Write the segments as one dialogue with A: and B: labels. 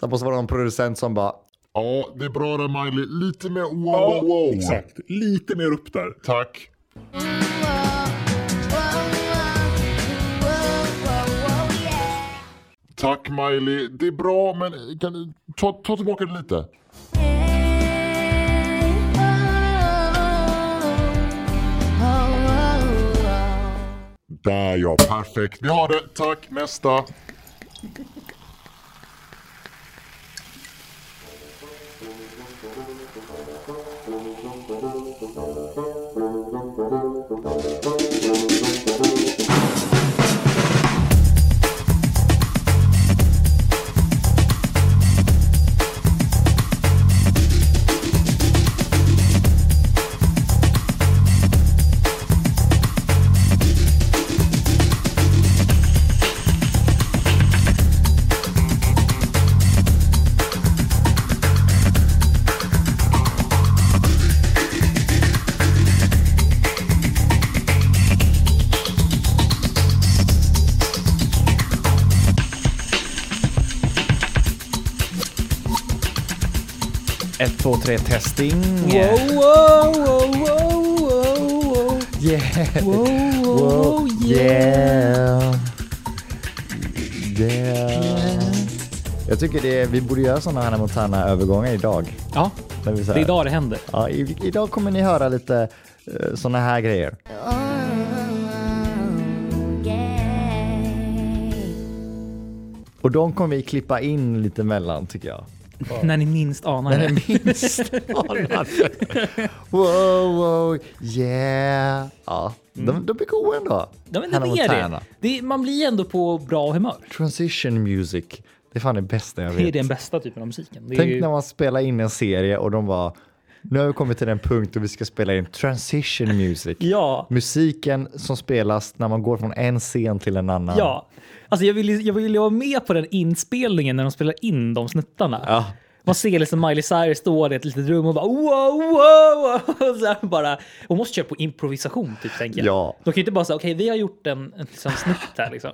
A: Det måste vara någon producent som bara
B: Ja, det är bra där Miley. Lite mer wow, wow, wow.
C: Exakt, lite mer upp där.
B: Tack. Tack Miley. Det är bra men kan du ta, ta tillbaka det lite? Där ja, perfekt. Vi har det. Tack, nästa.
D: Ett, två, tre, testing.
A: Yeah. Wow, yeah. Jag tycker det, vi borde göra sådana Hannah Montana-övergångar idag.
E: Ja,
A: När vi så
E: det
A: här-
E: är idag det händer.
A: Ja, i, idag kommer ni höra lite uh, sådana här grejer. Och de kommer vi klippa in lite mellan tycker jag.
E: När ni minst anar
A: När det
E: det.
A: är minst anade. Wow, wow, yeah. Ja, de, de blir goa ändå.
E: Ja, men
A: Hannah
E: det är
A: Montana.
E: det. det. är- Man blir ändå på bra humör.
A: Transition music. Det är fan det bästa jag
E: Det är
A: vet.
E: den bästa typen av musiken. Det är
A: Tänk
E: ju-
A: när man spelar in en serie och de bara nu har vi kommit till den punkt då vi ska spela in transition music.
E: Ja,
A: Musiken som spelas när man går från en scen till en annan.
E: ja. Alltså jag ville jag vill vara med på den inspelningen när de spelar in de snuttarna.
A: Ja.
E: Man ser liksom Miley Cyrus stå i ett litet rum och bara wow, wow, wow. Så här bara, hon måste köra på improvisation typ tänker jag.
A: Ja.
E: De kan ju inte bara säga okej vi har gjort en, en liksom, snutt här liksom.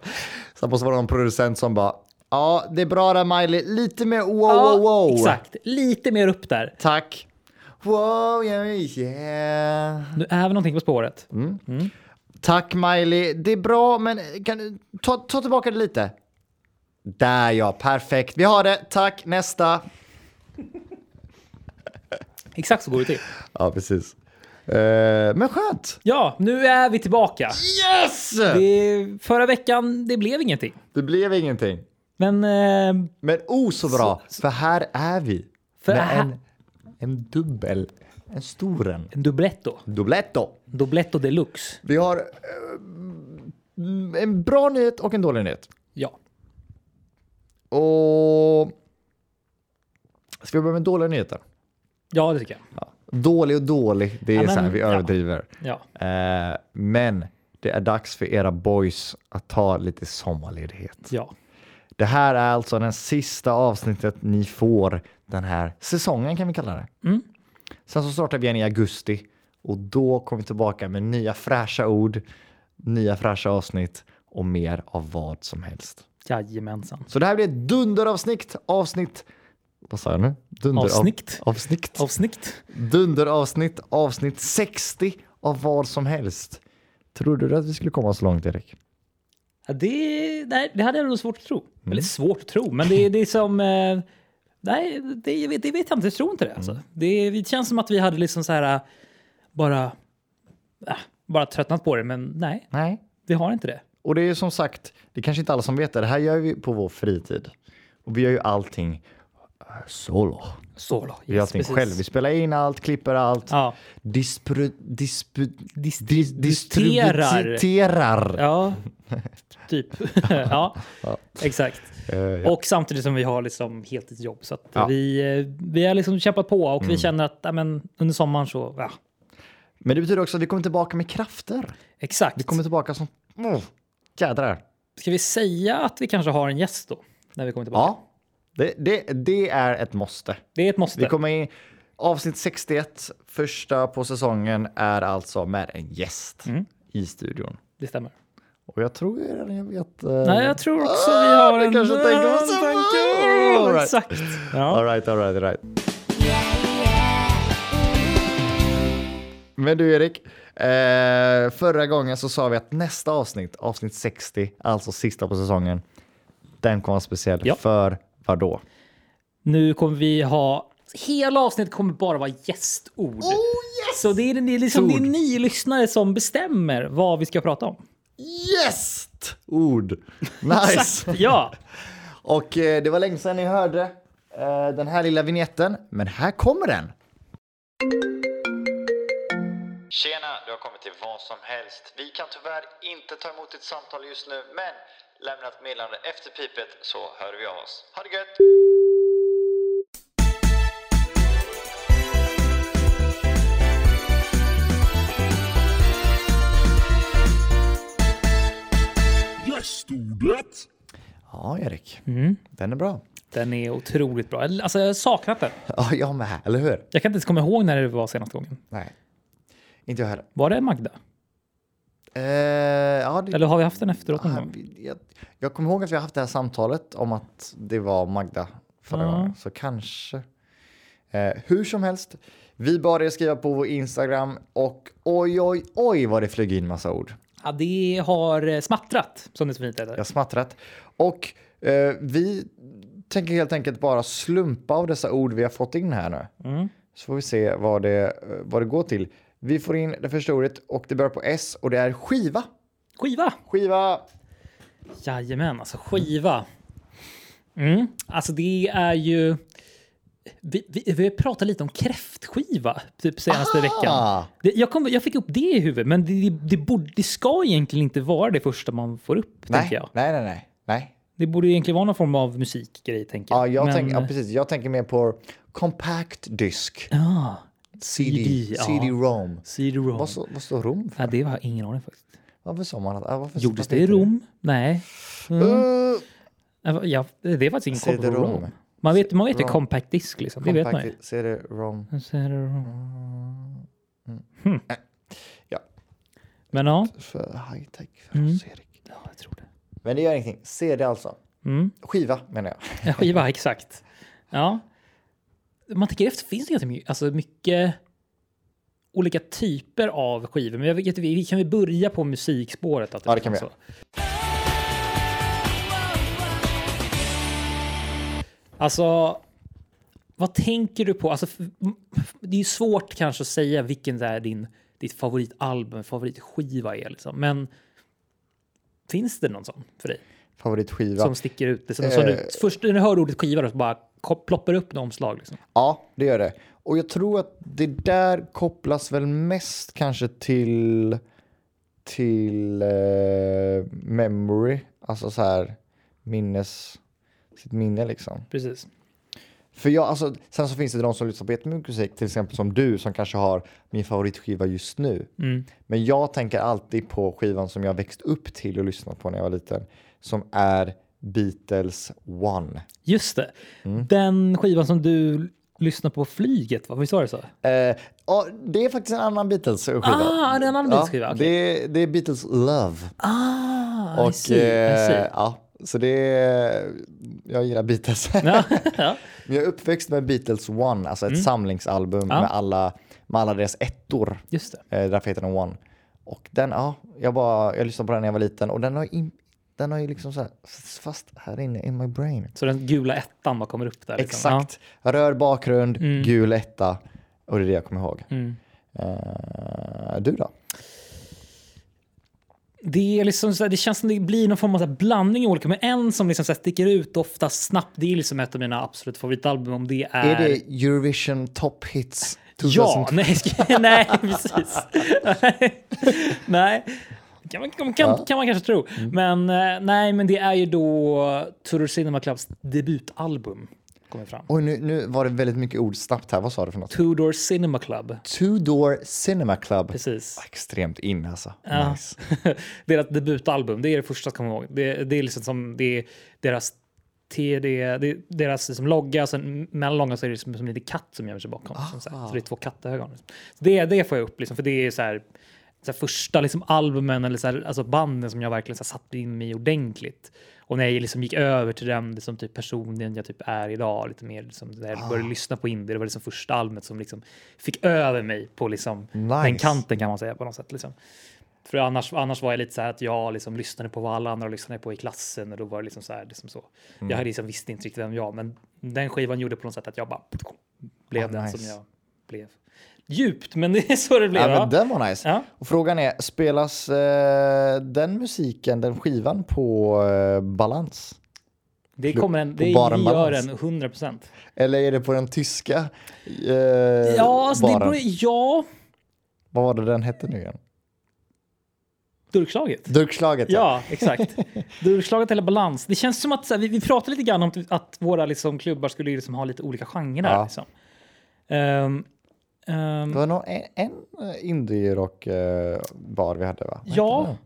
A: Så måste vara någon producent som bara ja, det är bra där Miley, lite mer wow,
E: Ja,
A: wow, wow.
E: Exakt, lite mer upp där.
A: Tack. Wow, yeah, yeah.
E: Nu är vi någonting på spåret.
A: Mm. Tack Miley, det är bra men kan du ta, ta tillbaka det lite? Där ja, perfekt. Vi har det. Tack, nästa.
E: Exakt så går det till.
A: Ja, precis. Eh, men skönt.
E: Ja, nu är vi tillbaka.
A: Yes! Det,
E: Det, förra veckan, det blev ingenting.
A: blev ingenting.
E: Men eh,
A: Men oh så bra, för här är vi.
E: För
A: Med
E: här-
A: en, en dubbel, en stor en.
E: en dubbletto.
A: Dubbletto.
E: Dubbletto deluxe.
A: Vi har eh, mm, en bra nyhet och en dålig nyhet.
E: Ja.
A: Och... Ska vi börja med dåliga nyheter?
E: Ja, det tycker jag.
A: Dålig och dålig, det är
E: Ja, men-
A: så här, vi
E: ja.
A: överdriver.
E: Ja.
A: Eh, men det är dags för era boys att ta lite sommarledighet.
E: ja.
A: Det här är alltså den sista avsnittet ni får den här säsongen kan vi kalla det. Sen så startar vi igen i augusti och då kommer vi tillbaka med nya fräscha ord, nya fräscha avsnitt och mer av vad som helst.
E: Jajamensan.
A: Så det här blir ett dunderavsnitt, avsnitt, vad sa jag nu? Dunder,
E: Avsnitt.
A: Av, avsnitt.
E: Avsnitt.
A: Dunderavsnitt, avsnitt 60 av vad som helst. Trodde du att vi skulle komma så långt Erik?
E: Ja, det, nej, det hade jag nog svårt att tro. Eller svårt att tro, men det, det är som... eh, Nej, det, vet- det vet jag inte. Jag tror inte det. Alltså. Det, det känns som att vi hade liksom så här... eh, Bara... eh, Bara tröttnat på det, men nej.
A: Nej.
E: Vi har inte det.
A: Och det är ju som sagt, det är kanske inte alla som vet det, det här gör vi på vår fritid. Och vi gör ju allting eh, solo.
E: Så då.
A: Vi gör allting själv. Vi spelar in allt, klipper allt,
E: Ja.
A: dispru, dispu, dis,
E: distributerar.
A: distributerar.
E: Ja, typ. ja, exakt.
A: Eh,
E: Och samtidigt som vi har liksom heltidsjobb. Så att
A: Ja.
E: vi, eh, vi har liksom kämpat på och vi känner att ja, men, under sommaren så, ja,
A: Men det betyder också att vi kommer tillbaka med krafter.
E: exakt.
A: Vi kommer tillbaka som... Oh, jädrar.
E: Ska vi säga att vi kanske har en gäst då? När vi kommer tillbaka?
A: Ja, det, det, det är ett måste.
E: Det är ett måste.
A: Vi kommer in, avsnitt 61, första på säsongen, är alltså med en gäst i studion.
E: Det stämmer.
A: Och jag tror jag redan jag vet. eh,
E: Nej, jag tror också vi har
A: Ah, vi
E: en...
A: kanske tänker på
E: en
A: samma.
E: tanke.
A: All right.
E: Exakt. Ja.
A: All right, all right, all right. Men du Erik, eh, förra gången så sa vi att nästa avsnitt, avsnitt 60, alltså sista på säsongen, den kommer vara speciell
E: Ja.
A: för vadå?
E: Nu kommer vi ha... Hela avsnittet kommer bara vara gästord. Oh, yes! Så det är, det, är liksom, det är ni lyssnare som bestämmer vad vi ska prata om.
A: Gästord! Nice!
E: Ja,
A: Och eh, det var länge sedan ni hörde eh, den här lilla vignetten, men här kommer den.
F: Tjena, du har kommit till vad som helst. Vi kan tyvärr inte ta emot ditt samtal just nu, men lämna ett meddelande efter pipet så hör vi av oss. Ha det gött!
C: Gästordet!
A: Ja, Erik.
E: Mm.
A: Den är bra.
E: den är otroligt bra. Alltså, jag har saknat den.
A: Ja, jag med, eller hur?
E: Jag kan inte ens komma ihåg när det var senaste gången.
A: Nej, inte jag heller.
E: Var det Magda?
A: Eh, ja, det,
E: Eller har vi haft den efteråt någon
A: Ah,
E: gång?
A: vi- jag, jag kommer ihåg att vi har haft det här samtalet om att det var Magda förra
E: Ja.
A: gången, så kanske. Eh, hur som helst, vi bad er skriva på vår Instagram och oj, oj, oj vad det flög in massa ord.
E: Ja, det har eh, smattrat, som det så fint heter.
A: Jag har smattrat. Och eh, vi tänker helt enkelt bara slumpa av dessa ord vi har fått in här nu.
E: Mm.
A: Så får vi se vad det, eh, vad det går till. Vi får in det första ordet och det börjar på S och det är skiva.
E: Skiva!
A: Skiva!
E: Jajamän, alltså skiva. Mm. Alltså det är ju... Vi, vi, vi pratade lite om kräftskiva typ senaste veckan. Det, jag, kom, jag fick upp det i huvudet, men det, det, det, borde, det ska egentligen inte vara det första man får upp,
A: Nej,
E: tänker jag.
A: nej, nej, nej. nej.
E: Det borde egentligen vara någon form av musikgrej, tänker jag.
A: Ja, jag,
E: Men,
A: tänker, ja,
E: eh,
A: precis. jag tänker mer på compact disk.
E: ah,
A: CD.
E: CD, ja.
A: CD-ROM.
E: CD-ROM.
A: Vad, så, vad står ROM för?
E: Ja, det var ingen aning faktiskt.
A: Varför sa man att... ja, varför
E: Gjordes
A: satte
E: det i
A: inte
E: Rom? Mm. Nej.
A: Uh,
E: Ja, det är faktiskt ingen koll på
A: CD-ROM.
E: Rom. Man vet, man vet ju
A: Rom.
E: compact disk, liksom. det vet man ju.
A: compact CD-ROM.
E: CD-ROM. Mm, Äh,
A: Ja,
E: Hm. Men ja.
A: för high tech för
E: Mm.
A: oss, Erik.
E: Ja, jag tror det.
A: Men det gör ingenting. CD alltså.
E: Mm.
A: Skiva menar jag.
E: En skiva, exakt. Ja. Man tänker efter finns det ganska mycket, alltså mycket olika typer av skivor. Men jag vet, inte, vi vi kan vi börja på musikspåret? Att
A: Ja, det kan vi
E: så.
A: göra.
E: Alltså, vad tänker du på? Alltså, f- m- f- det är ju svårt kanske att säga vilken det är din, ditt favoritalbum, favoritskiva är. Liksom. Men finns det någon sån för dig?
A: Favoritskiva.
E: som sticker ut. Det är
A: Eh.
E: som, som du, först när du hör ordet skiva då, så bara ko- ploppar det upp något omslag. Liksom.
A: Ja, det gör det. Och jag tror att det där kopplas väl mest kanske till till eh, memory, alltså så här minnes, sitt minne liksom.
E: Precis.
A: För jag, alltså, sen så finns det de som lyssnar på jättemycket musik, till exempel som du som kanske har min favoritskiva just nu.
E: Mm.
A: Men jag tänker alltid på skivan som jag växt upp till och lyssnat på när jag var liten, som är Beatles One.
E: Just det.
A: Mm.
E: Den skivan som du l- lyssnar på flyget, va? visst var det så?
A: Eh, ja, det är faktiskt en annan Beatles-skiva.
E: Ah, det är en annan Beatles-skiva, okej.
A: det, är- det är Beatles Love.
E: Ah, I
A: och,
E: see, I
A: eh,
E: see.
A: ja, så det är, jag gillar Beatles.
E: Ja, Mm. ja.
A: Men jag är uppväxt med Beatles One, alltså ett samlingsalbum med, alla, med alla deras ettor.
E: Just det.
A: Eh, därför heter den One. Och den, ja, jag, bara, jag lyssnade på den när jag var liten och den har, in, den har ju liksom så här, s- fast här inne in my brain.
E: Så den gula ettan bara kommer upp där. Liksom.
A: Exakt. Röd bakgrund,
E: Mm.
A: gul etta. Och det är det jag kommer ihåg. Eh, du då?
E: Ja. Det, är liksom så här, det känns som det blir någon form av så här blandning i olika, men en som liksom så här sticker ut ofta snabbt, det är liksom ett av mina absolut favoritalbum om det är...
A: Är det Eurovision Top Hits 2000?
E: Ja, nej, sk- nej precis. nej, kan man, kan, kan man kanske tro. Men eh, nej, men det är ju då Tudor Cinema Clubs debutalbum kommer fram.
A: Oj, nu, nu var det väldigt mycket ord snabbt här. Vad sa du för något?
E: Tudor Cinema Club,
A: Two Door Cinema Club.
E: precis.
A: Extremt in alltså.
E: Ja.
A: Nice.
E: deras debutalbum, det är det första jag kommer ihåg. Det, det är liksom som det är deras TD, det är deras liksom logga, sen mellan loggan så är det som, som en liten katt som gömmer sig bakom. Som så, här, så det är två kattögon. Liksom. Så det, det får jag upp, liksom, för det är så här så här, första liksom, albumen eller så här, alltså banden som jag verkligen så här, satte in mig i ordentligt. Och när jag liksom gick över till den liksom, typ personen jag typ är idag, lite mer liksom, när jag började lyssna på indie, det var liksom första albumet som liksom fick över mig på liksom, den
A: Nice.
E: kanten kan man säga på något sätt. Liksom. För annars, annars var jag lite så här att jag liksom lyssnade på vad alla andra lyssnade på i klassen och då var det liksom så här. Liksom så.
A: Mm.
E: Jag hade liksom visste inte riktigt vem jag var, men den skivan gjorde på något sätt att jag bara blev
A: Ah,
E: den
A: nice.
E: som jag blev. Djupt, men det är så det blev.
A: Ja,
E: va?
A: men den var nice.
E: Ja.
A: Och frågan är, spelas eh, den musiken, den skivan på eh, balans?
E: Det kommer en,
A: på
E: det
A: baren
E: gör
A: balans.
E: en 100 procent.
A: Eller är det på den tyska eh,
E: Ja, alltså det
A: baren?
E: beror, ja,
A: Vad var det den hette nu igen?
E: durkslaget.
A: Durkslaget
E: Ja, exakt. Durkslaget eller balans. Det känns som att så här, vi, vi pratade lite grann om t- att våra liksom, klubbar skulle ju liksom, ha lite olika genrer.
A: Ja.
E: Liksom. Ehm, ehm,
A: Det var nog en, en indie-rock eh, bar vi hade va? Vad hette
E: ja,
A: den?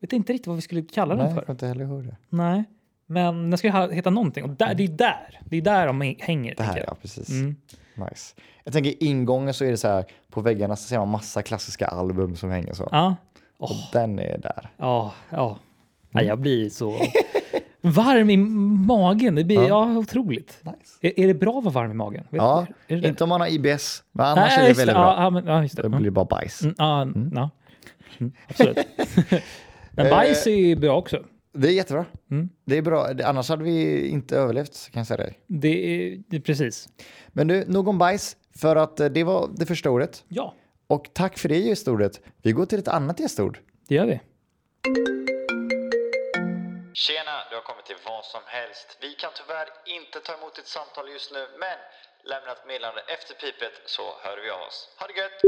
E: vet inte riktigt vad vi skulle kalla
A: Nej,
E: den
A: jag
E: för.
A: kommer inte heller ihåg det.
E: Nej, men den ska ju ha- heta någonting. Och där, det är där, det är där de
A: Det
E: hänger. tycker
A: här
E: jag.
A: ja, precis.
E: Mm.
A: Nice. Jag tänker ingången så är det så här, på väggarna så ser man massa klassiska album som hänger så.
E: Ja.
A: Och den är där.
E: Ja, ja. Nej, jag blir så varm i magen. Det blir ja. otroligt.
A: Nice.
E: Är, är det bra att vara varm i magen? Vet
A: Ja,
E: du- är det det?
A: inte om man har IBS, men annars
E: Nej,
A: är det
E: just
A: väldigt
E: ja,
A: bra.
E: Ja, men, ja, just det.
A: Det
E: Mm.
A: blir bara bajs.
E: Mm, ja, ja. Mm, absolut. men bajs är
A: Eh.
E: ju bra också.
A: Det är jättebra.
E: Mm.
A: Det är bra. Det- Annars hade vi inte överlevt kan jag säga dig.
E: Det är, det är precis.
A: Men du, nog om bajs. För att eh, det var det första ordet.
E: Ja,
A: Och tack för det gästordet. Vi går till ett annat gästord.
E: det gör vi.
F: Tjena, du har kommit till vad som helst. Vi kan tyvärr inte ta emot ditt samtal just nu, men lämna ett meddelande efter pipet så hör vi av oss. Ha det gött!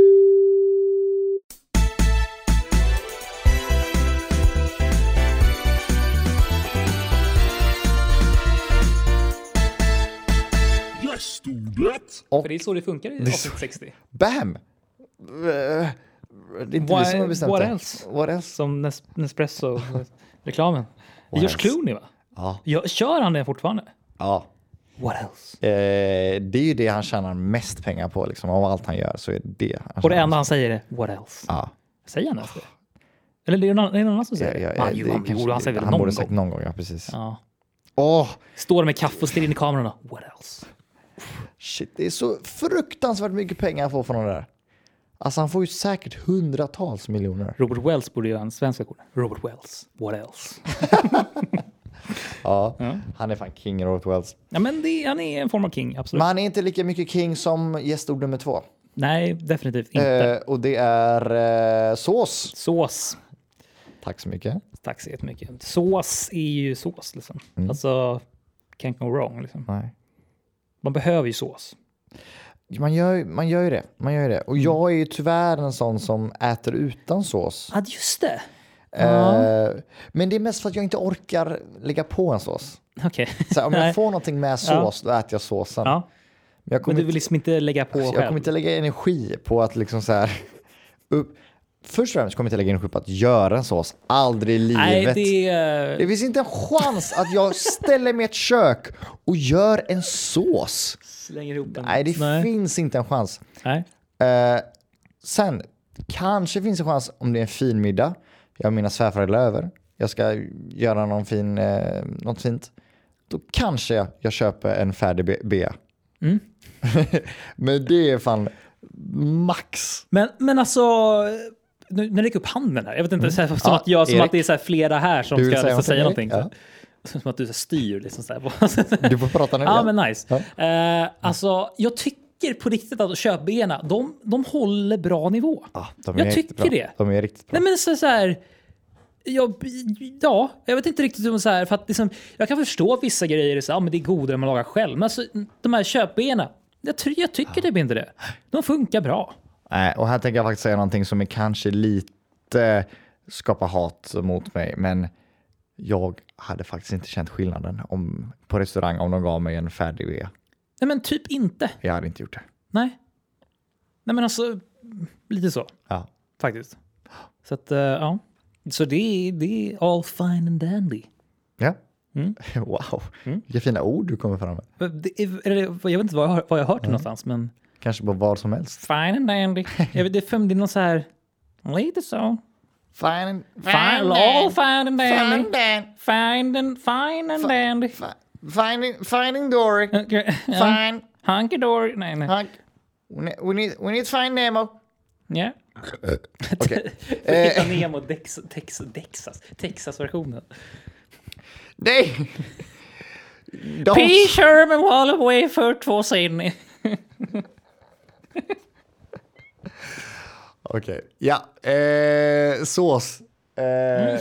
C: Gästordet!
E: För det är så det funkar i avsnitt 60.
A: Bam! Eh, Det är inte
E: Why-
A: vi som har bestämt
E: what
A: det.
E: else?
A: What else?
E: Som Nes- Nespresso-reklamen. George
A: else?
E: Clooney, va?
A: Ja.
E: Ja, kör han den fortfarande?
A: ja.
E: What else?
A: Eh, det är ju det han tjänar mest pengar på. Liksom. Av allt han gör så är det det. han
E: Och det
A: tjänar
E: enda han säger är “What else?”
A: Ja.
E: Säger han ens det? Eller det är någon, är det någon annan som säger
A: Ja, ja,
E: det? Nej,
A: det
E: Ah, jo, han,
A: kanske-
E: borde- han säger väl
A: han
E: någon
A: borde sagt
E: gång.
A: någon gång. Ja, precis.
E: Ja.
A: Åh,
E: Står med kaffe och stirrar in i kameran och “What else?”
A: shit. Det är så fruktansvärt mycket pengar han får från det där. Alltså han får ju säkert hundratals miljoner.
E: Robert Wells borde göra en svensk version. Robert Wells, “What else?”
A: Ja, han är fan king Robert Wells.
E: Ja, men det, han är en form av king, absolut.
A: Men han är inte lika mycket king som gästord nummer två.
E: Nej, definitivt inte.
A: Eh, och det är eh, sås.
E: sås.
A: Tack så mycket.
E: Tack så jättemycket. Sås är ju sås, liksom.
A: Mm.
E: Alltså, can't go wrong, liksom.
A: Nej.
E: Man behöver ju sås.
A: Man gör, ju- man gör ju det. Man gör ju det.
E: Mm.
A: Och jag är ju tyvärr en sån som äter utan sås.
E: Ja, just det.
A: Eh, men det är mest för att jag inte orkar lägga på en sås.
E: Okej.
A: Så här, om
E: Nej.
A: jag får någonting med sås, då äter jag såsen.
E: Ja.
A: Men jag kommer
E: Men du vill liksom inte lägga på
A: Alltså,
E: själv?
A: Jag kommer inte lägga energi på att liksom så här... Upp. Först och främst kommer jag inte lägga energi på att göra en sås. Aldrig i
E: Nej,
A: livet. det...
E: det eh, är...
A: finns inte en chans att jag ställer mig i ett kök och gör en sås.
E: Slänger ihop en...
A: Nej, det
E: Nej.
A: finns inte en chans.
E: Nej.
A: Eh, sen, kanske finns en chans om det är en fin middag. Jag har mina svärföräldrar över. Jag ska göra någon fin, eh, något fint. Då kanske jag, jag köper en färdig B- bea.
E: Mm.
A: Men det är fan max.
E: Men, men alltså, nu, nu räcker upp handen här. Jag vet inte, så här, som,
A: Mm. Ja,
E: att, jag, som
A: Erik.
E: att det är så här flera här som
A: Du vill
E: ska säga,
A: säga
E: liksom, säga någonting.
A: någonting,
E: Så här. Som att du så här, styr liksom. Så här.
A: Du får prata nu
E: ja,
A: igen.
E: men nice. Eh, alltså, jag tycker på riktigt att köpbena, de, de håller bra nivå.
A: Ja, Ah, de
E: Jag
A: är
E: tycker
A: riktigt bra.
E: det.
A: De är riktigt bra.
E: Nej, men så, så här, jag, ja, jag vet inte riktigt om så här, för att liksom, jag kan förstå vissa grejer, så, här, ja, men det är godare om man lagar själv. Men alltså, de här köpbena, jag, ty- jag tycker det blir inte det. De funkar bra.
A: Nej, och här tänker jag faktiskt säga någonting som är kanske lite skapar hat mot mig, men jag hade faktiskt inte känt skillnaden om, på restaurang om de gav mig en färdig V.
E: Nej, men typ inte.
A: Jag hade inte gjort det.
E: Nej. Nej men alltså, lite så
A: Ja.
E: faktiskt. Så att, eh, ja. Så det är, det är all fine and dandy.
A: ja. Mm. Wow, vilka fina ord du kommer fram med.
E: Men det är- eller, Jag vet inte vad jag har, vad jag har hört det någonstans, men
A: Kanske på vad som helst.
E: fine and dandy. Jag vet, det är fem- det är någon så här, Lite så.
A: Fine, fine,
E: Fine, all fine and dandy.
A: Dan.
E: Fine and, fine and dandy.
A: Finding, finding Dory.
E: Okay. Ja.
A: Fine.
E: Hunky dory. Nej, nej.
A: Hunk. We need, we need, we need to find Nemo.
E: Ja.
A: Okej. Eh,
E: Hitta Nemo Dex, Tex, Texas. Texas-versionen.
A: Nej! De,
E: P. Sherman Wall Away för två Sydney.
A: Okej, ja. Eh, sås. Eh.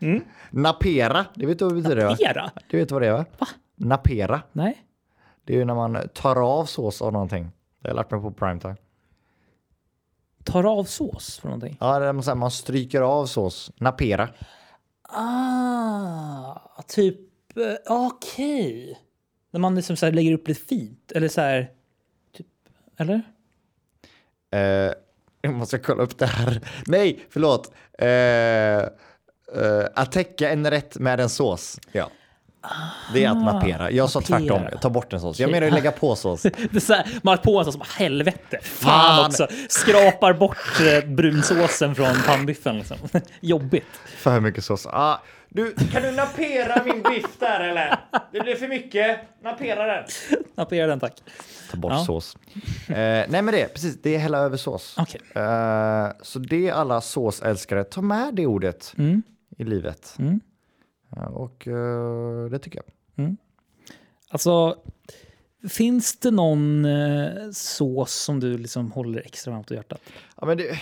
A: Mm. Napera, det vet du vad det betyder va?
E: Era?
A: Du vet vad det är va? Napera.
E: Nej.
A: Det är ju när man tar av sås av någonting. Det har jag lärt mig på primetime.
E: Tar av sås för någonting.
A: Ja, det är så här, man stryker av sås. Napera.
E: Ah, typ... eh, Okej. När man liksom så här lägger upp lite fint. Eller så här... Typ, eller?
A: Eh, jag måste kolla upp det här. Nej, förlåt. Eh, eh, att täcka en rätt med en sås. Ja. Det är att napera. Jag sa
E: napera.
A: tvärtom. Ta bort en sås. Jag menar ju lägga på sås.
E: Det är så här, man har på en sån som bara, helvete. Fan också. Skrapar bort eh, brunsåsen från pannbiffen. Liksom. Jobbigt.
A: För mycket sås. Ah, du, kan du napera min biff där eller? Det blir för mycket. Napera den.
E: Appera den tack.
A: Ta bort
E: Ja.
A: sås. Eh, nej men det, precis. Det är hälla över sås.
E: Okej.
A: Eh, så det är alla såsälskare. Ta med det ordet
E: Mm.
A: i livet. Ja, och eh, det tycker jag.
E: Alltså, finns det någon eh, sås som du liksom håller extra varmt om hjärtat?
A: Ja, men det,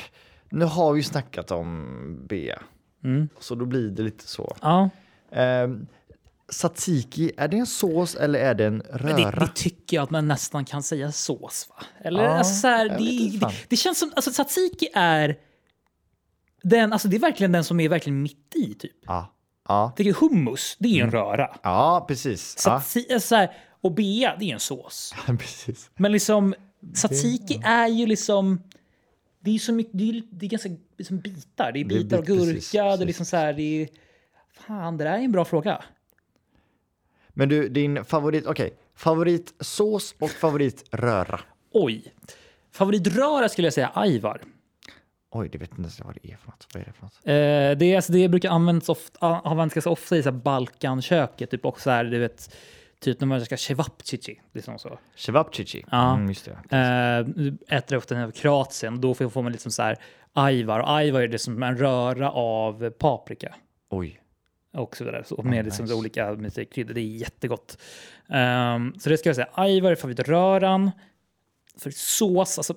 A: nu har vi ju snackat om B.
E: Mm.
A: Så då blir det lite så.
E: Ja,
A: Ehm, tzatziki, är det en sås eller är det en röra?
E: men det, det tycker jag att man nästan kan säga sås va? Eller
A: Ja,
E: alltså, så här,
A: jag
E: det,
A: vet inte
E: det,
A: fan.
E: det känns som, alltså tzatziki är den, alltså det är verkligen den som är verkligen mitt i typ.
A: Ja, ja,
E: Det är hummus, det är en röra.
A: Mm. ja precis. Ja,
E: Tzatziki, alltså, så här, och bea, det är en sås.
A: precis.
E: Men liksom, tzatziki är ju liksom... Det är ju så mycket, det är, ju- det är ganska liksom bitar. Det är
A: Det är
E: bitar och
A: bit-
E: gurka.
A: precis,
E: Det är
A: precis.
E: liksom så här, det är, Fan, det där är en bra fråga.
A: Men du, din favorit, okej. Favoritsås och favoritröra.
E: Oj. Favoritröra skulle jag säga Aivar.
A: Oj, det vet inte ens jag vad det är för något. Vad är det för något?
E: Eh, det, är, alltså, det brukar användas, ofta, användas ganska ofta i så här Balkanköket. Typ, och så här, du vet, typ när man ska cevapcici. Liksom så.
A: Cevapcici.
E: Ja.
A: Mm, just det.
E: Eh, äter det ofta över Kroatien. Då får får man liksom så här Aivar. Och Aivar är det som en röra av paprika.
A: Oj.
E: och så vidare. Så med liksom så olika med sig kryddor. Det är jättegott. Ehm, så det ska jag säga. Aivar är favoritröran. För sås, alltså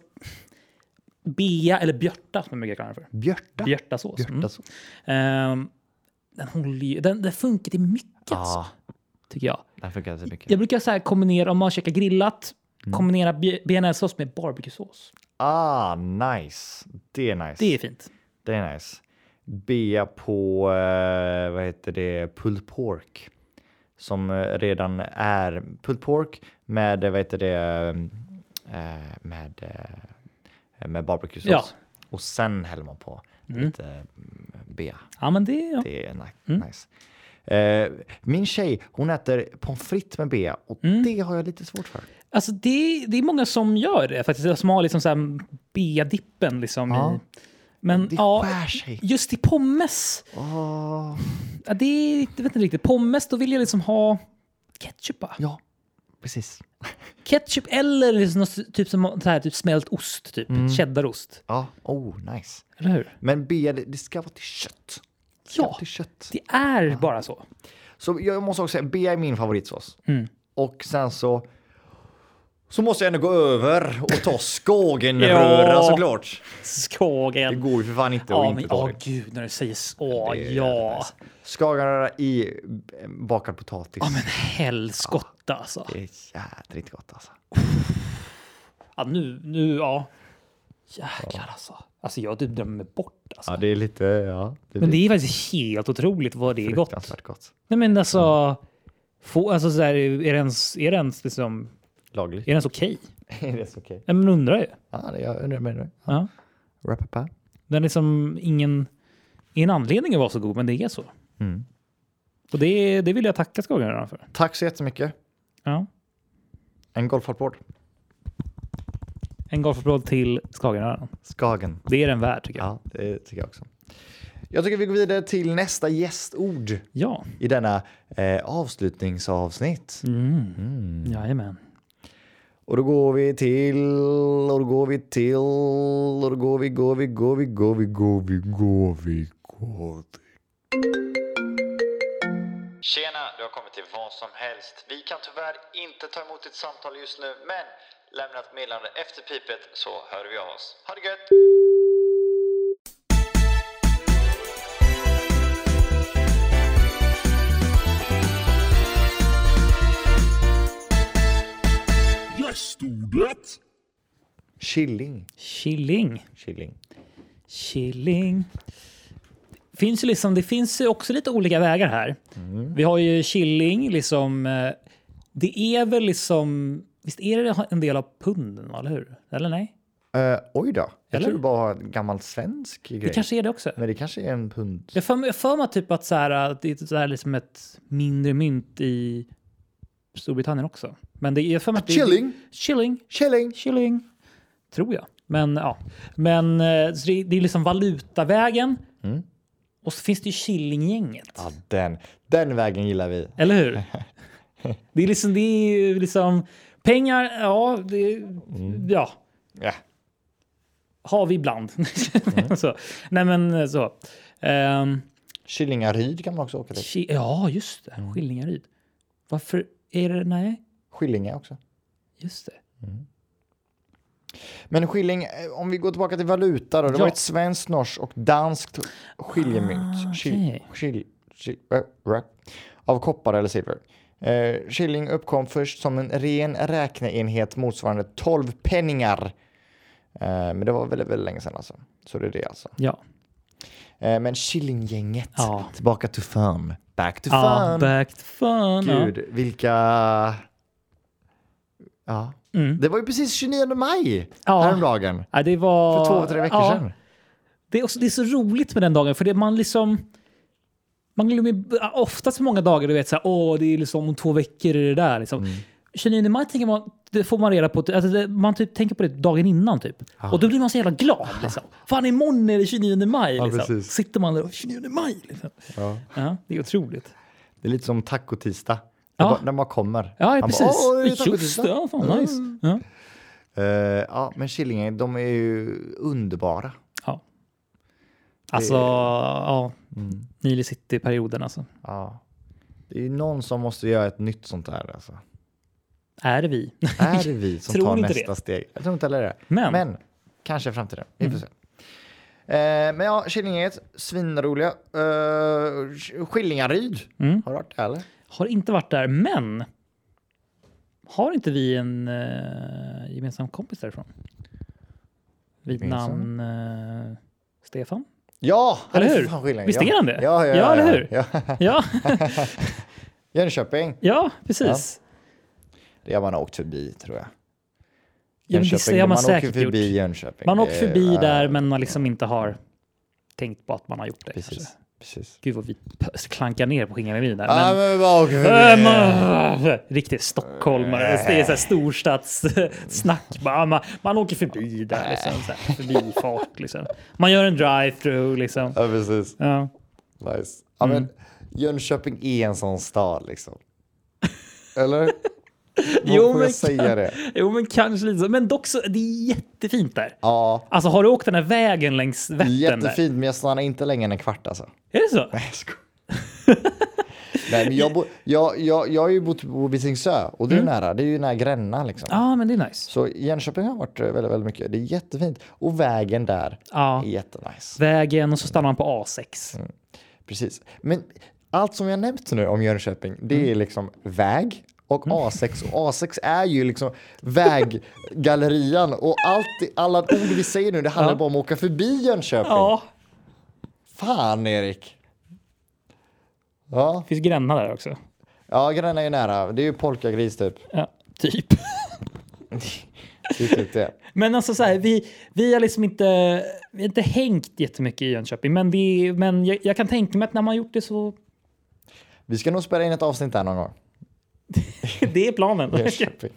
E: bea eller björta som man brukar kalla den för.
A: Björta.
E: Björtasås. Mm.
A: Björtasås.
E: Ehm, den, håller ju, den, den funkar till mycket,
A: Ja,
E: tycker jag.
A: den funkar inte så mycket.
E: Jag brukar så här kombinera, om man käkar grillat, kombinera bj- bearnaisesås med barbecuesås.
A: Ah, nice. Det är nice.
E: Det är fint.
A: Det är nice. Bea på, eh, vad heter det, pulled pork. Som eh, redan är pulled pork med, eh, vad heter det, eh, med, eh, med barbecuesås.
E: Ja.
A: Och sen häller man på lite mm, bea.
E: Ja, men det... Ja.
A: Det är ni-
E: Mm.
A: nice. Eh, min tjej, hon äter pommes frites med bea och
E: Mm.
A: det har jag lite svårt för.
E: Alltså det, det är många som gör det faktiskt. Som har liksom så här B-dippen liksom. I, men
A: Det
E: ja,
A: skär sig.
E: just i pommes.
A: Åh,
E: Ja, det är, jag vet inte riktigt. Pommes, då vill jag liksom ha ketchup va?
A: ja, precis.
E: Ketchup eller liksom något, typ, som, så här, typ smält ost, typ.
A: Mm.
E: Cheddarost.
A: Ja, oh nice.
E: Eller hur?
A: Men bea, det- det ska vara till kött. Det ska
E: Ja.
A: vara till kött.
E: Det är bara så.
A: Så jag måste också säga, bea är min favoritsås.
E: Mm.
A: Och sen så så måste jag ändå gå över och ta skagenröra
E: Ja.
A: såklart. Det
E: Skagen.
A: går ju för fan inte att
E: Ja, men
A: inte ta
E: åh
A: det.
E: gud när du säger så. Åh,
A: Det är jävligt
E: ja.
A: nice. Skagenröra i eh, bakad potatis.
E: Ja, men helskotta alltså.
A: Det är jädrigt gott alltså.
E: Ja, nu, nu, ja. Jäklar alltså. Alltså jag typ drömmer bort alltså.
A: Ja, det är lite, ja. Det
E: Men
A: blir
E: det är faktiskt helt otroligt vad det är gott.
A: fruktansvärt gott.
E: Nej men alltså, få, alltså så här, är det ens, är det ens, liksom, är
A: Lagligt.
E: det ens okej?
A: Är det så okej?
E: Nej men undrar ju.
A: Ja, det, jag undrar med det.
E: Ja.
A: Rapapa.
E: Den är liksom ingen, ingen anledning att vara så god, men det är så.
A: Mm.
E: Och det, det vill jag tacka skogaren för.
A: Tack så jättemycket.
E: Ja.
A: En golfhalvbord.
E: En golfapplåd till Skagenröran.
A: Skagen.
E: Det är den värd tycker jag.
A: Ja, det tycker jag också. Jag tycker vi går vidare till nästa gästord
E: Ja,
A: i denna eh, avslutningsavsnitt. Mm.
E: jajamän.
A: Och då går vi till, och då går vi till, och då går vi, går vi, går vi, går vi, går vi, går vi, går vi.
F: Tjena, du har kommit till vad som helst. Vi kan tyvärr inte ta emot ditt samtal just nu, men lämna ett meddelande efter pipet så hör vi av oss. Ha det gött!
C: Gästordet!
A: Chilling.
E: Killing.
A: Chilling.
E: Killing. Finns ju liksom, det finns ju också lite olika vägar här.
A: Mm.
E: Vi har ju killing, liksom, eh, det är väl liksom... Visst är det en del av punden, eller hur? Eller nej?
A: Eh, oj då. Jag
E: Eller?
A: tror det var en gammal svensk grej.
E: Det kanske är det också.
A: Men det kanske är en pund.
E: Jag för, mig- jag för mig typ att så här, att det är så här liksom ett mindre mynt i Storbritannien också. Men det är för mig att det är-
A: Chilling.
E: Chilling.
A: Chilling.
E: Chilling. Tror jag. Men ja. Men eh, så det, det är liksom valutavägen. Och så finns det ju Killinggänget.
A: Mm. Ja, den, den vägen gillar vi.
E: Eller hur? Det är liksom, det är ju liksom pengar, ja, det,
A: Mm.
E: ja,
A: Ja.
E: har vi ibland.
A: Mm.
E: så. Nej men så. Ehm,
A: Killingaryd kan man också åka till.
E: Ki- Ja, just
A: Mm.
E: det. Skillingaryd. Varför är det... Nej,
A: Skillinge också.
E: just det.
A: Men skilling, eh, om vi går tillbaka till valuta då. Det var
E: Ja.
A: ett svenskt, norskt och danskt skiljemynt.
E: Ah,
A: Kil-
E: okej.
A: kil- kil- äh, rä- av koppar eller silver. Eh, Killing uppkom först som en ren räkneenhet motsvarande 12 penningar. Eh, men det var väldigt, väldigt länge sedan alltså. Så det är det alltså.
E: Ja.
A: Eh, men Killinggänget,
E: Ja.
A: tillbaka to fun. Back to
E: Ah,
A: fun.
E: back to fun.
A: Gud, vilka... Ja.
E: Mm.
A: Det var ju precis 29 maj
E: Ja.
A: häromdagen.
E: Ja. Ja, det var...
A: För två, tre veckor
E: ja.
A: sedan.
E: Det är, också, det är så roligt med den dagen, för det man liksom... Man glömmer oftast många dagar, du vet, så här, åh, det är liksom om två veckor är det där. Liksom. 29 maj tänker man, det får man reda på, alltså, det, man typ tänker på det dagen innan typ. Och då blir man så jävla glad. Liksom. Fan, imorgon är det 29 maj. Liksom.
A: precis.
E: Sitter man där och 29 maj. Liksom.
A: Ja.
E: Ja, det är otroligt.
A: Det är lite som tacotisdag.
E: Ja.
A: Ja. Bara, när man kommer.
E: Ja,
A: Man
E: precis.
A: Bara, "Åh, det är
E: Just det,
A: tacotisdag." Mm.
E: ja, fan nice. Ja.
A: Eh, ja, men Killinge, de är ju underbara.
E: Ja. Alltså, ja. Nile City-perioden alltså.
A: Ja. Det är ju någon som måste göra ett nytt sånt här. Alltså.
E: Är det vi?
A: Är det vi som
E: Tror
A: tar
E: inte
A: nästa steg? Jag tror inte heller det.
E: Men. Mm.
A: men kanske i framtiden. Vi får se. Eh, men ja, Killinggänget, svinroliga. Uh, Skillingaryd,
E: Mm.
A: har du hört det eller?
E: Har inte varit där, men har inte vi en eh, gemensam kompis därifrån? Vid
A: Gemensam?
E: namn eh, Stefan?
A: Ja, han
E: Eller
A: är för
E: hur?
A: fan Skillinge,
E: Visst är
A: ja.
E: han det?
A: Ja, ja,
E: Ja,
A: ja,
E: eller hur?
A: Ja.
E: Ja,
A: Jönköping,
E: ja precis.
A: det har man åkt förbi tror jag.
E: Ja, men det
A: Jönköping,
E: har man
A: åker
E: säkert gjort.
A: förbi Jönköping.
E: Man har
A: Det
E: åkt
A: är-
E: förbi
A: ja,
E: där, men man liksom inte har tänkt på att man har gjort det.
A: Precis.
E: kanske.
A: precis.
E: Gud vad vi p- klankar ner på skingarevyn där.
A: Ja,
E: men-
A: men vi bara åker
E: Äh,
A: förbi.
E: man- Riktigt stockholmare. Det är så här storstadssnack. Man, man, man åker förbi där. Liksom, så här, förbifart. Liksom. Man gör en drive-through. Liksom.
A: Ja, precis.
E: Ja.
A: Nice. Ja,
E: Mm.
A: men Jönköping är en sån stad liksom. Eller?
E: Jo,
A: Får
E: men
A: jag säga det?
E: jo, men kanske lite så. Men dock så, det är jättefint där.
A: Ja,
E: Alltså, har du åkt den här vägen längs Vättern? Där?
A: jättefint men jag stannar inte längre än en kvart alltså.
E: Är det så?
A: Nej, jag skojar. Nej, men jag, bo, jag, jag, jag har ju bott på Visingsö och det är ju nära. Det är ju nära Gränna liksom.
E: Mm. Ja, men det är nice.
A: Så Jönköping har varit eh, väldigt, väldigt mycket. Det är jättefint. Och vägen där
E: Ja.
A: är jättenice.
E: Vägen och så stannar man på A6.
A: Precis. Men allt som jag nämnt nu om Jönköping, det är liksom väg och A6. Och A6 är ju liksom väggallerian. Och allt, alla ord vi säger nu, det handlar bara om att åka förbi Jönköping.
E: Ja,
A: Fan, Erik. Ja,
E: det finns Gränna där också.
A: ja Gränna är ju nära. Det är ju polkagris typ.
E: Ja, typ.
A: Det är typ det.
E: Men alltså så här, vi, vi har liksom inte, vi har inte hängt jättemycket i Jönköping, men, det, är- men jag, jag kan tänka mig att när man har gjort det så,
A: Vi ska nog spela in ett avsnitt där någon gång.
E: det är planen.
A: Jönköping.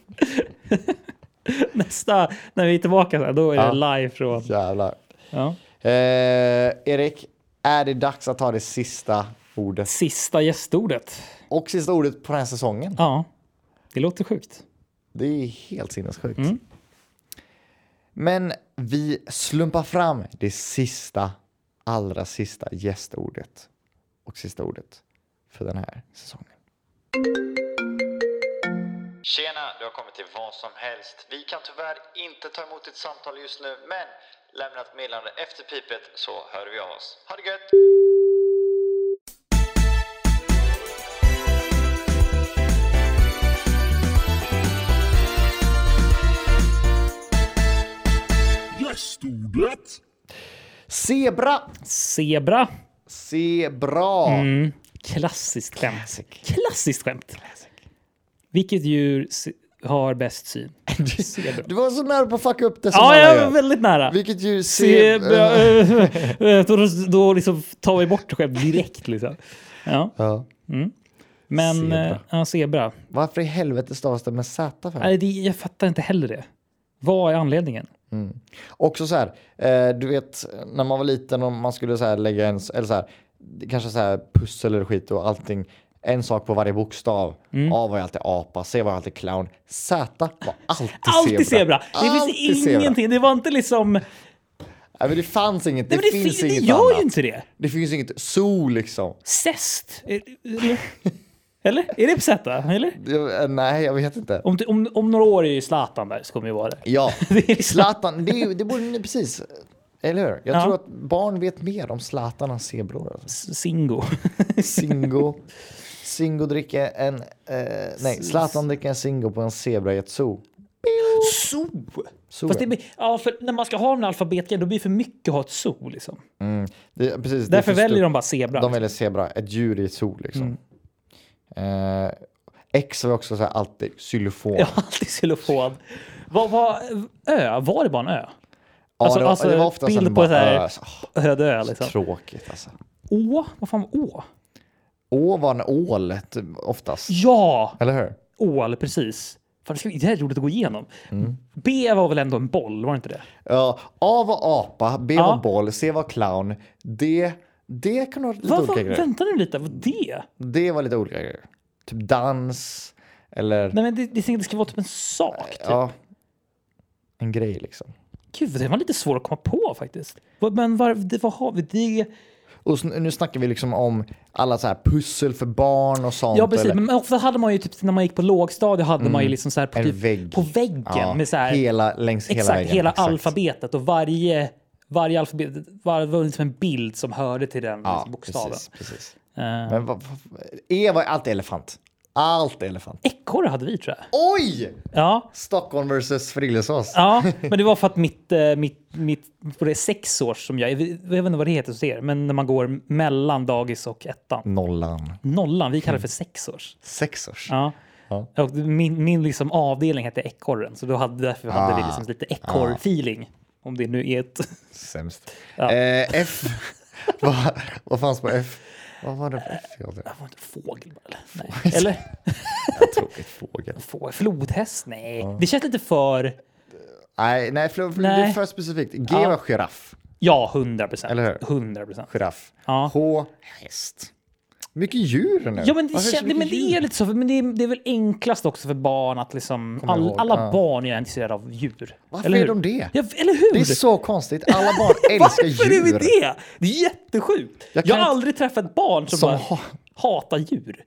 E: Nästa, när vi är tillbaka, så här, då är det live från...
A: Jävlar.
E: Ja.
A: Eh, Erik, är det dags att ta det sista ordet?
E: Sista gästordet.
A: Och sista ordet på den här säsongen.
E: Ja, det låter sjukt.
A: Det är helt sinnessjukt.
E: Mm.
A: Men vi slumpar fram det sista, allra sista gästordet och sista ordet för den här säsongen.
F: Tjena, du har kommit till vad som helst. Vi kan tyvärr inte ta emot ditt samtal just nu, men lämna ett meddelande efter pipet så hör vi av oss. Ha det gött!
C: Gästordet!
A: Zebra!
E: Zebra.
A: Zebra!
E: Mm. Klassiskt skämt. Klassiskt skämt. Vilket djur se- har bäst syn? Zebra.
A: Du var så nära på att fucka upp det som
E: Ja,
A: alla
E: jag
A: gör.
E: var väldigt nära.
A: Vilket djur ser...
E: Zebra. eh, eh, Då, då liksom tar vi bort skämt direkt. Liksom. Ja.
A: Ja.
E: Men
A: Zebra.
E: zebra. Ja, zebra.
A: Varför i helvete stavas det med Z? För?
E: Nej, det, jag fattar inte heller det. Vad är anledningen?
A: Också så här, eh, du vet när man var liten och man skulle så här lägga en, eller så här, det kanske så här pussel eller skit och allting, en sak på varje bokstav.
E: Mm.
A: A var ju alltid apa, C var alltid clown, Z var alltid,
E: Alltid
A: zebra.
E: zebra. Det finns ingenting. Det var inte liksom... Det,
A: Nej, men det fanns inget, det,
E: Nej, men det,
A: finns
E: fi-
A: inget
E: det gör
A: annat.
E: ju inte det.
A: Det finns inget zoo liksom.
E: Zest. Eh, eller? Eller? Är det på Z? Eller?
A: Det- eh, Nej, jag vet inte.
E: Om, du- om, om några år är ju Zlatan där, så kommer ju vara där.
A: Ja,
E: Det är liksom-
A: Zlatan, det, är ju- det borde ni precis, eller hur? Jag
E: Ja.
A: tror att barn vet mer om Zlatan än zebror. Alltså.
E: Singo.
A: Singo. Singo dricker en... Eh, nej, Zlatan dricker en Singo på en zebra i ett zoo.
E: Zoo!
A: zoo ja.
E: Fast det blir, ja, för när man ska ha den här alfabetgrejen, då blir det för mycket att ha ett zoo. Liksom.
A: Det- precis, det är
E: Därför
A: för
E: väljer
A: stort.
E: de bara zebra.
A: De väljer zebra, ett djur i ett zoo liksom.
E: Mm.
A: Eh, X var också så här alltid xylofon.
E: Jag har alltid xylofon. Vad var ö? Var det bara en ö?
A: Ja,
E: alltså-
A: det, var,
E: alltså,
A: det var ofta
E: bild
A: sen
E: på
A: bara,
E: så här-
A: "Öh, så- åh,
E: Öde ö liksom.
A: Tråkigt alltså.
E: Å? Vad fan var å?
A: Å var en ål typ, oftast.
E: Ja!
A: Eller hur?
E: Ål, precis. Fan, det ska- det här är roligt att gå igenom.
A: Mm.
E: B var väl ändå en boll, var det inte det?
A: Ja, A var apa, B
E: Ja.
A: var boll, C var clown. D, D kan vara lite
E: Vad
A: olika
E: var,
A: grejer.
E: vänta nu lite, vad det?
A: D var lite olika grejer. Typ dans eller...
E: Nej, men det, det, det ska vara typ en sak. Typ.
A: Ja. En grej liksom.
E: Gud, det var lite svårt att komma på faktiskt. Vad- Men var, det, vad har vi? Det,
A: Och sn- nu snackar vi liksom om alla så här pussel för barn och sånt.
E: ja, precis.
A: eller Mm.
E: Men ofta hade man ju typ när man gick på lågstadiet hade man ju liksom så här på,
A: En
E: typ,
A: vägg.
E: på väggen
A: Ja,
E: med så här.
A: hela, längs hela
E: exakt,
A: vägen.
E: hela
A: Exakt.
E: alfabetet och varje, varje alfabet var, var liksom en bild som hörde till den
A: Ja,
E: liksom, bokstaven.
A: precis. precis.
E: Eh,
A: Men vad, vad, e var alltid elefant. Allt elefant.
E: Ekorre hade vi tror jag.
A: Oj!
E: Ja,
A: Stockholm versus Frillesås.
E: ja men det var för att mitt, eh, mitt, mitt på det sex år som jag, jag vet inte vad det heter hos er, men när man går mellan dagis och ettan.
A: Nollan.
E: Nollan, vi kallar det för sexårs.
A: Sexårs.
E: Ja.
A: Ja.
E: Och min min liksom avdelning hette Ekorren, så då hade, därför hade
A: Ah.
E: vi liksom lite ekorr-feeling. Om det nu är ett...
A: Sämst.
E: Ja.
A: Eh, F. vad, vad fanns på F? Vad var det på F? Jag vet inte.
E: Var det en fågel? bara, Eller? Nej. eller?
A: Tråkigt fågel.
E: Få, flodhäst? Nej. Det känns lite för...
A: Nej, nej, för, för, det är
E: Nej.
A: för specifikt. G
E: Ja.
A: var giraff.
E: Ja, 100 procent.
A: Eller hur?
E: 100 procent.
A: Giraff.
E: Ja.
A: H. Häst. Mycket djur nu.
E: Ja, men det,
A: Varför är
E: känns,
A: så
E: men
A: mycket
E: det är liksom-
A: djur?
E: lite så. Men det är, det är väl enklast också för barn att liksom...
A: Kommer
E: All,
A: ihåg,
E: alla
A: ja.
E: barn är intresserade av djur.
A: Varför
E: eller
A: är
E: hur?
A: de det?
E: Ja, eller hur?
A: Det är så konstigt. Alla barn älskar djur.
E: Varför är vi det? Det är jättesjukt. Jag,
A: Jag kan
E: har
A: inte-
E: aldrig träffat ett barn som,
A: Som
E: bara
A: ha-
E: hatar djur.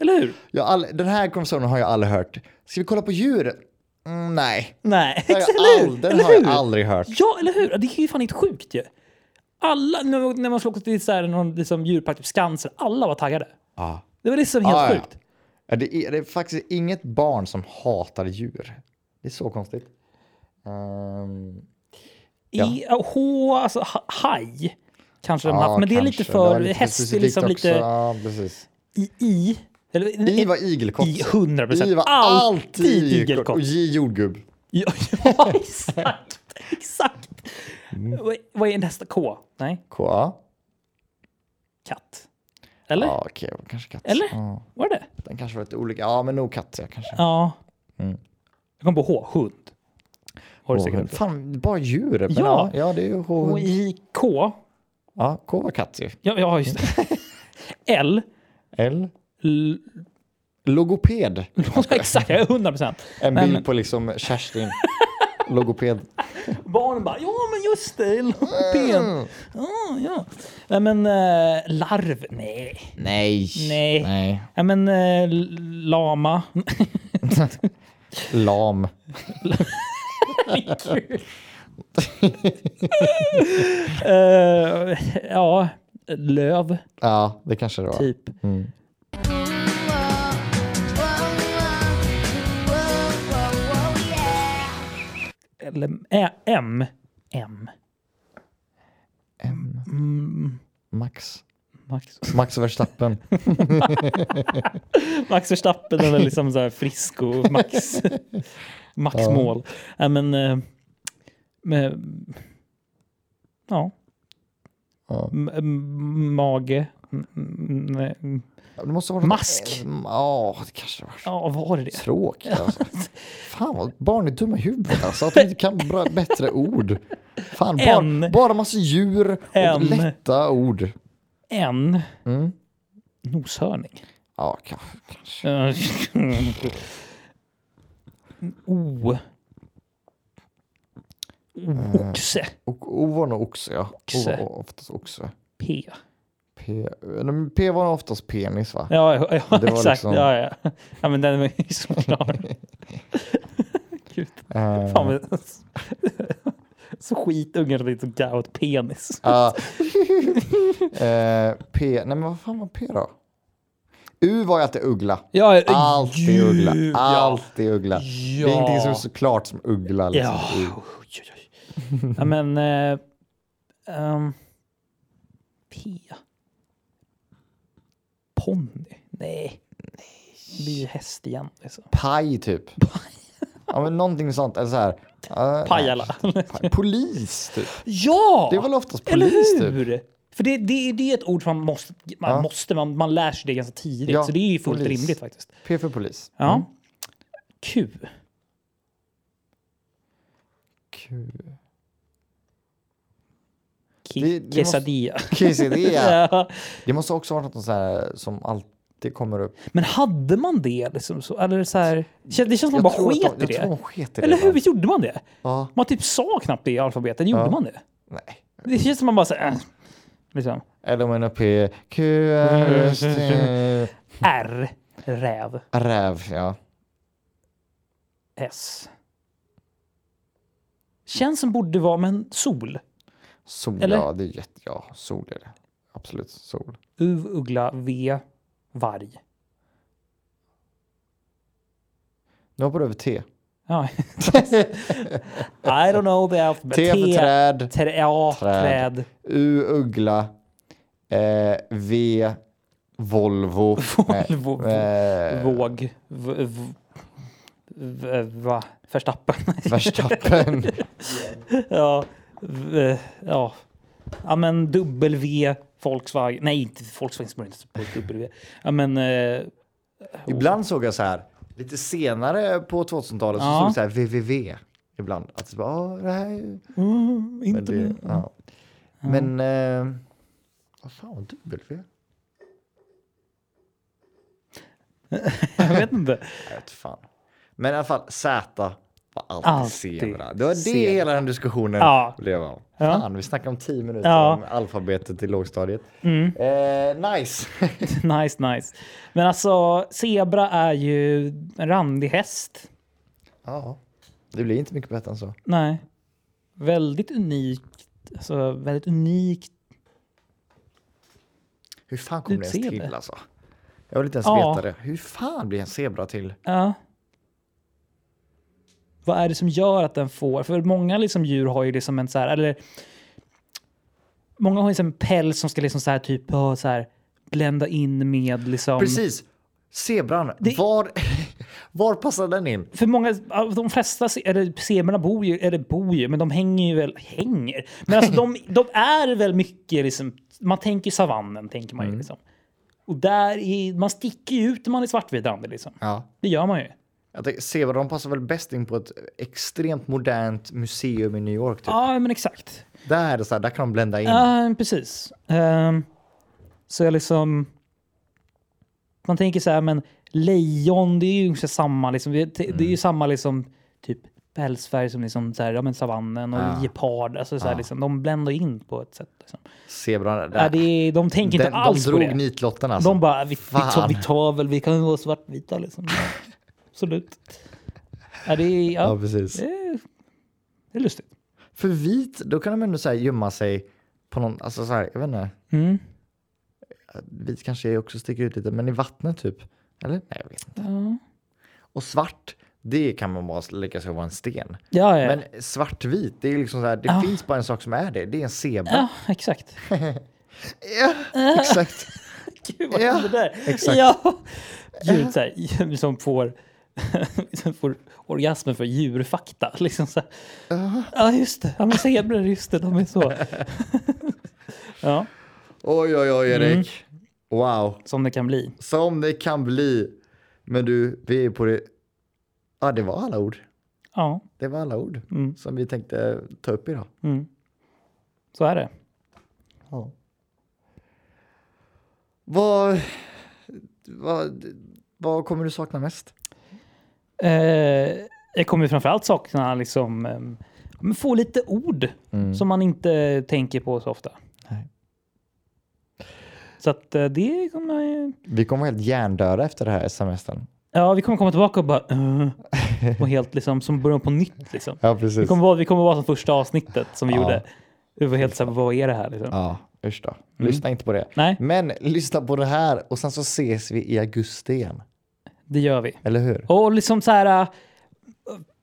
E: Eller hur?
A: Jag har all, den här konversationen har jag aldrig hört. Ska vi kolla på djur? Mm, nej.
E: Nej.
A: Det har jag
E: eller hur?
A: ald- Den
E: eller
A: har jag
E: hur?
A: aldrig hört.
E: Ja, eller hur? Det är ju fan inte sjukt ju. Alla, när när man skulle åka till så här, någon liksom, djurpark, typ Skansen, alla var taggade.
A: Ja.
E: Det var liksom helt
A: Ja, ja.
E: sjukt.
A: Ja, Det är, det är faktiskt inget barn som hatar djur. Det är så konstigt. Ehm,
E: I, H, alltså ha- haj, kanske de
A: ja,
E: haft. Men det är
A: kanske.
E: lite för...
A: var lite
E: häst är
A: specifikt
E: liksom
A: också.
E: lite
A: Ja, precis.
E: i... i eller,
A: I var igelkott.
E: I 100 procent.
A: I var alltid igelkott. Och
E: igelkott.
A: J jordgubb.
E: Ja, ja, exakt. exakt.
A: Mm.
E: Vad- Vad är nästa? K? Nej,
A: K. Ja,
E: katt. Eller?
A: Ja, okej. det var Kanske katt.
E: Eller?
A: Ja,
E: Var det
A: den kanske var lite olika. Ja, men nog katt. Ja, kanske.
E: Ja. Jag kom på H, hund. har du säkert. också.
A: Fan, bara djur. Men
E: Ja.
A: ja. ja, det är ju H.
E: Och i K,
A: Ja, K var katt ju.
E: ja, ja just det. L,
A: L.
E: L
A: Logoped.
E: exakt, jag är 100 procent.
A: En
E: Men-
A: bild på liksom Kerstin. Logoped.
E: Barnen bara, ja men just det, lopén. Ja, ja. Nej men eh, larv, nej.
A: Nej.
E: Nej.
A: Nej.
E: Nej men eh, l- lama.
A: Lam.
E: Eh, ja, löv
A: Ja, det kanske det var.
E: typ. Eller ä- M. M.
A: Max.
E: Max,
A: Max Verstappen.
E: Max Verstappen eller liksom så här frisk och Max. Max mål. Nej men. eh, med, ja.
A: Ja.
E: M- m- mage. M- m- m-
A: Ja, Det måste vara något-
E: Mask.
A: Ja, det kanske det var.
E: Ja, vad var det?
A: Tråkigt alltså. Fan vad barn är dumma i huvudet alltså. Att de inte kan bra, bättre ord. Fan,
E: En.
A: bara, bara massa djur och
E: En.
A: lätta ord.
E: En.
A: Mm.
E: Noshörning.
A: Ja, kanske. kanske.
E: Eh, O.
A: Mm.
E: Oxe.
A: Och O var nog oxe, ja. O
E: Oxe.
A: var oftast oxe.
E: P.
A: P, nej, men P var nog oftast penis va?
E: Ja, ja, ja
A: Det var
E: exakt.
A: liksom-
E: Ja, ja. ja, men den var ju såklart. Gud,
A: Eh,
E: fan vad... Så skitungar som inte gav åt penis.
A: ja. Eh, P, nej men vad fan var P då? U var ju alltid uggla.
E: Ja,
A: Alltid
E: djur,
A: uggla. Alltid uggla.
E: Ja.
A: Det är ingenting som är så klart som uggla. Liksom.
E: Ja.
A: U.
E: Oj, oj, oj. ja, men... Eh, ehm, P. Ponny? Nej. Det blir ju häst igen. Liksom.
A: Paj typ. ja, men någonting sånt. Eller så här. eh,
E: Pajala.
A: nej, Polis typ.
E: ja!
A: Det är väl oftast
E: Eller
A: polis typ.
E: hur? För det, det, det är ett ord som man måste, man,
A: Ja.
E: måste man, man lär sig det ganska tidigt.
A: Ja,
E: så det är ju fullt
A: polis. Mm.
E: rimligt faktiskt.
A: P för polis.
E: Ja. Q.
A: Q.
E: Ki-
A: Det- det måste-
E: Quesadilla.
A: Quesadilla.
E: ja.
A: Det måste också vara något så här som alltid kommer upp.
E: Men hade man det liksom så? Eller så här, det känns det känns som
A: Jag
E: man
A: tror
E: bara
A: att de-
E: sket i
A: Jag tror
E: det.
A: de sket i det.
E: Eller hur?
A: va?
E: Visst gjorde man det?
A: Ja.
E: Man typ sa knappt det i alfabetet. Gjorde
A: Ja.
E: man det?
A: Nej.
E: Det känns som man bara så här, äh, liksom.
A: Eller om en är P. Q. R. S, T.
E: R. Räv.
A: Räv, ja.
E: S. Känns som borde vara, men sol.
A: Sol,
E: Eller?
A: ja. Det är jätte... Ja, sol är det. Absolut, sol.
E: Uv, uggla, V, varg.
A: Nu hoppar du över T.
E: Ja. I don't know the alphabet.
A: T för träd.
E: trä- ja,
A: Träd.
E: träd.
A: U, uggla. Eh, v, Volvo.
E: Volvo.
A: Eh,
E: Våg. V, v, v, eh, va? Förstappen.
A: Verstappen.
E: ja. V, eh, ja. Ja men W, Volkswagen. Nej, inte Volkswagen smörjer inte på ett W. Ja men... Eh,
A: Ibland såg jag så här, lite senare på 2000-talet,
E: Ja.
A: så såg jag så här VVV. Ibland. Att det bara, "Ah, det här är... Men,
E: Mm, inte
A: det, ja. Men... Eh, vad fan var W?
E: Jag vet inte.
A: Jag vet fan. Men i alla fall, Z var alltid,
E: Alltid
A: zebra. Det var det
E: zebra.
A: hela den diskussionen
E: Ja.
A: blev av.
E: Ja.
A: Fan, vi snackade om 10 minuter
E: Ja. Mm.
A: om alfabetet i lågstadiet. Eh, nice!
E: Nice, nice. Men alltså, zebra är ju en randig häst.
A: ja. Det blir inte mycket bättre än så.
E: Nej. Väldigt unikt. Alltså, väldigt unikt.
A: Hur fan kommer det ens
E: Utseende.
A: till alltså? Jag vill inte ens
E: Ja.
A: veta det. Hur fan blir en zebra till?
E: Ja. Vad är det som gör att den får? För många liksom djur har ju det som en så här, eller många har ju som en päls som ska liksom så här typ ja, så här, blända in med liksom.
A: Precis! Zebran,
E: Det-
A: var, var passar den in?
E: För många, av de flesta, se- eller zebrorna bor ju, eller bor ju, men de hänger ju väl, hänger. Men alltså de, de är väl mycket liksom, man tänker savannen tänker man ju liksom. Och där, är, man sticker ju ut när man är svartvit liksom.
A: Ja.
E: Det gör man ju.
A: Jag tänker, Sebron passar väl bäst in på ett extremt modernt museum i New York. Typ.
E: Ja, men exakt.
A: Där, är det så här, där kan de blända in.
E: Ja, precis. Ehm, så jag liksom... Man tänker så här, men lejon, det är ju ungefär samma. Liksom, det det
A: Mm.
E: är ju samma liksom, typ pälsfärg som liksom, så här, ja, men savannen och
A: Ja.
E: gepard. Alltså, så här, liksom, de bländar in på ett sätt. Liksom.
A: Sebron, där.
E: Ja, det, de tänker
A: Den,
E: inte alls
A: de
E: på
A: drog
E: det.
A: nitlotten alltså.
E: De bara, vi, vi, tar,
A: Fan.
E: vi tar väl, vi kan ju vara svartvita liksom. Ja, Absolut. Ja, det, är- ja,
A: Ja, precis.
E: det, är, det är lustigt.
A: För vit, då kan de ändå så här gömma sig på någon, alltså så här, jag vet inte.
E: Mm.
A: Vit kanske också sticker ut lite, men i vattnet typ. Eller? Nej, jag vet inte.
E: Ja,
A: Och svart, det kan man bara lägga sig vara en sten.
E: ja, ja.
A: Men svartvit, det är liksom så här, det finns bara en sak som är det. Det är en zebra.
E: ja exakt.
A: Ja, exakt.
E: Gud, vad
A: Ja,
E: hände där?
A: exakt.
E: Ja. Djur, så här, djur som får, som får orgasmen för djurfakta. Liksom så här. Ja, just det. Ja, men zebror, just det. De är så. ja,
A: Oj, oj, oj,
E: Mm.
A: Erik. Wow.
E: som det kan bli.
A: Som det kan bli. Men du, vi är på det. Ja, det var alla ord.
E: Ja,
A: Det var alla ord
E: Mm.
A: som vi tänkte ta upp idag.
E: så är det.
A: Ja. Vad, vad, vad kommer du sakna mest?
E: Eh, jag kommer ju framförallt sakna liksom, eh, men få lite ord som man inte tänker på så ofta.
A: Nej.
E: Så att eh, det kommer jag ju-
A: Vi kommer helt hjärndöda efter det här semestern.
E: Ja, vi kommer komma tillbaka och bara... eh, och helt liksom, som början på nytt liksom.
A: Ja,
E: Vi
A: precis.
E: kommer, vara, vi kommer vara som första avsnittet som vi
A: Ja.
E: gjorde. Vi var helt såhär, vad är det här? Liksom.
A: Ja, usch då. Lyssna inte på det.
E: Mm. Nej.
A: Men lyssna på det här och sen så ses vi i augusti igen.
E: Det gör vi.
A: Eller hur?
E: Och liksom så här... eh,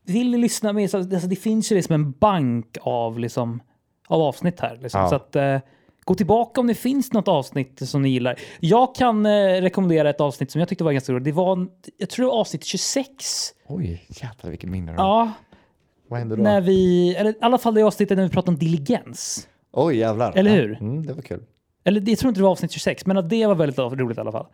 E: Vill ni lyssna mer? Så, alltså, det finns ju liksom en bank av, liksom, av avsnitt här. Liksom.
A: Ja.
E: Så att, eh, gå tillbaka om det finns något avsnitt som ni gillar. Jag kan eh, rekommendera ett avsnitt som jag tyckte var ganska roligt. Det var, en- jag tror det var avsnitt 26.
A: Oj, jävlar vilket minne du har.
E: Ja,
A: Vad hände då?
E: när vi... Eller i alla fall det avsnittet när vi pratade om diligens.
A: Oj, jävlar.
E: Eller
A: Ja.
E: hur?
A: Mm, det var kul.
E: Eller jag tror inte det var avsnitt 26, men att det var väldigt roligt i alla fall.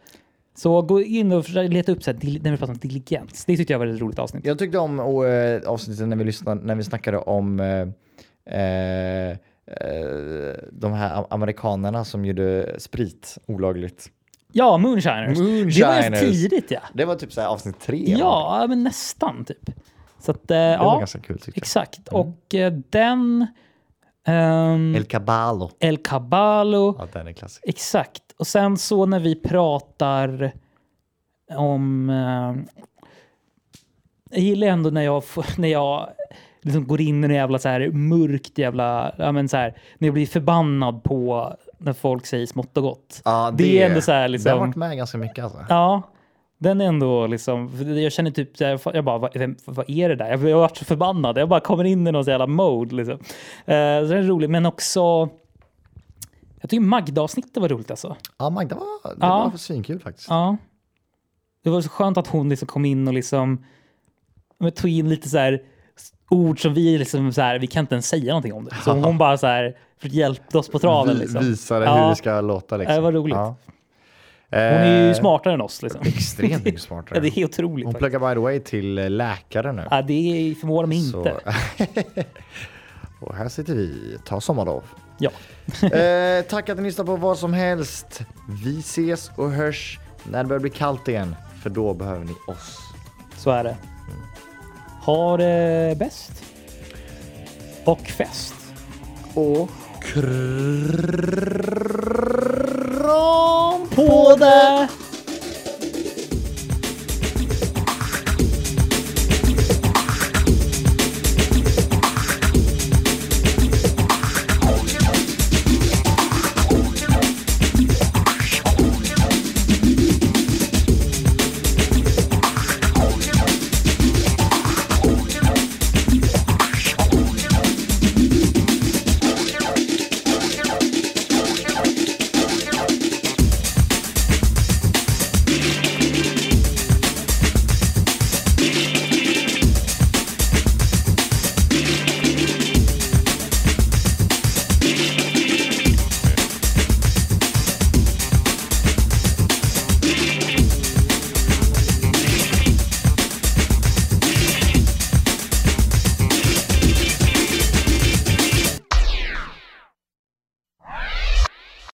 E: Så gå in och försök leta upp så här, dil- när vi pratar om diligens. Det tyckte jag var ett roligt avsnitt.
A: Jag tyckte om och, eh, avsnittet när vi, lyssnade, när vi snackade om eh, eh, eh, de här am- amerikanerna som gjorde sprit olagligt.
E: Ja, Moonshiners. Det var
A: Moonshiners.
E: ganska tidigt ja.
A: Det var typ så här avsnitt tre. va?
E: Ja, men nästan typ. Så att, eh,
A: Det var
E: ja,
A: ganska kul tyckte jag.
E: exakt. Och eh, den... ehm,
A: El Caballo.
E: El Caballo.
A: Ja, den är klassisk.
E: Exakt. Och sen så när vi pratar om... Eh, jag gillar ändå när jag, får- när jag liksom går in i det jävla så här mörkt jävla... Ja men så här, när jag blir förbannad på när folk säger smått och gott.
A: Ja,
E: Det är ändå så här liksom-
A: Den har varit med ganska mycket alltså.
E: Ja, den är ändå liksom... för Jag känner typ... så här, Jag bara, vad, vem, vad är det där? Jag har varit så förbannad. Jag bara kommer in i någon så jävla mode. Liksom. Eh, så det är roligt. Men också... Jag tycker Magda-avsnittet var roligt alltså.
A: Ja, Magda var, det
E: Ja.
A: var svinkul faktiskt.
E: Ja. Det var så skönt att hon liksom kom in och liksom men tog in lite så här ord som vi liksom så här, vi kan inte ens säga någonting om det. Så hon bara så här för hjälpte oss på traven
A: Vi-
E: liksom.
A: Visade hur
E: Ja.
A: det ska låta liksom.
E: Ja, det var roligt.
A: Ja.
E: Hon är ju smartare än oss liksom.
A: Extremt mycket smartare.
E: Ja, det är otroligt.
A: Eh, Hon
E: faktiskt.
A: pluggar by the way till eh, läkare nu.
E: Ja, det förvånar mig inte.
A: Så. och här sitter vi, ta sommarlov.
E: Ja.
A: eh, tack att ni lyssnar på vad som helst. Vi ses och hörs när det börjar bli kallt igen, för då behöver ni oss.
E: Så är det. Ha det bäst. Och fest.
A: Och
E: Kram på det!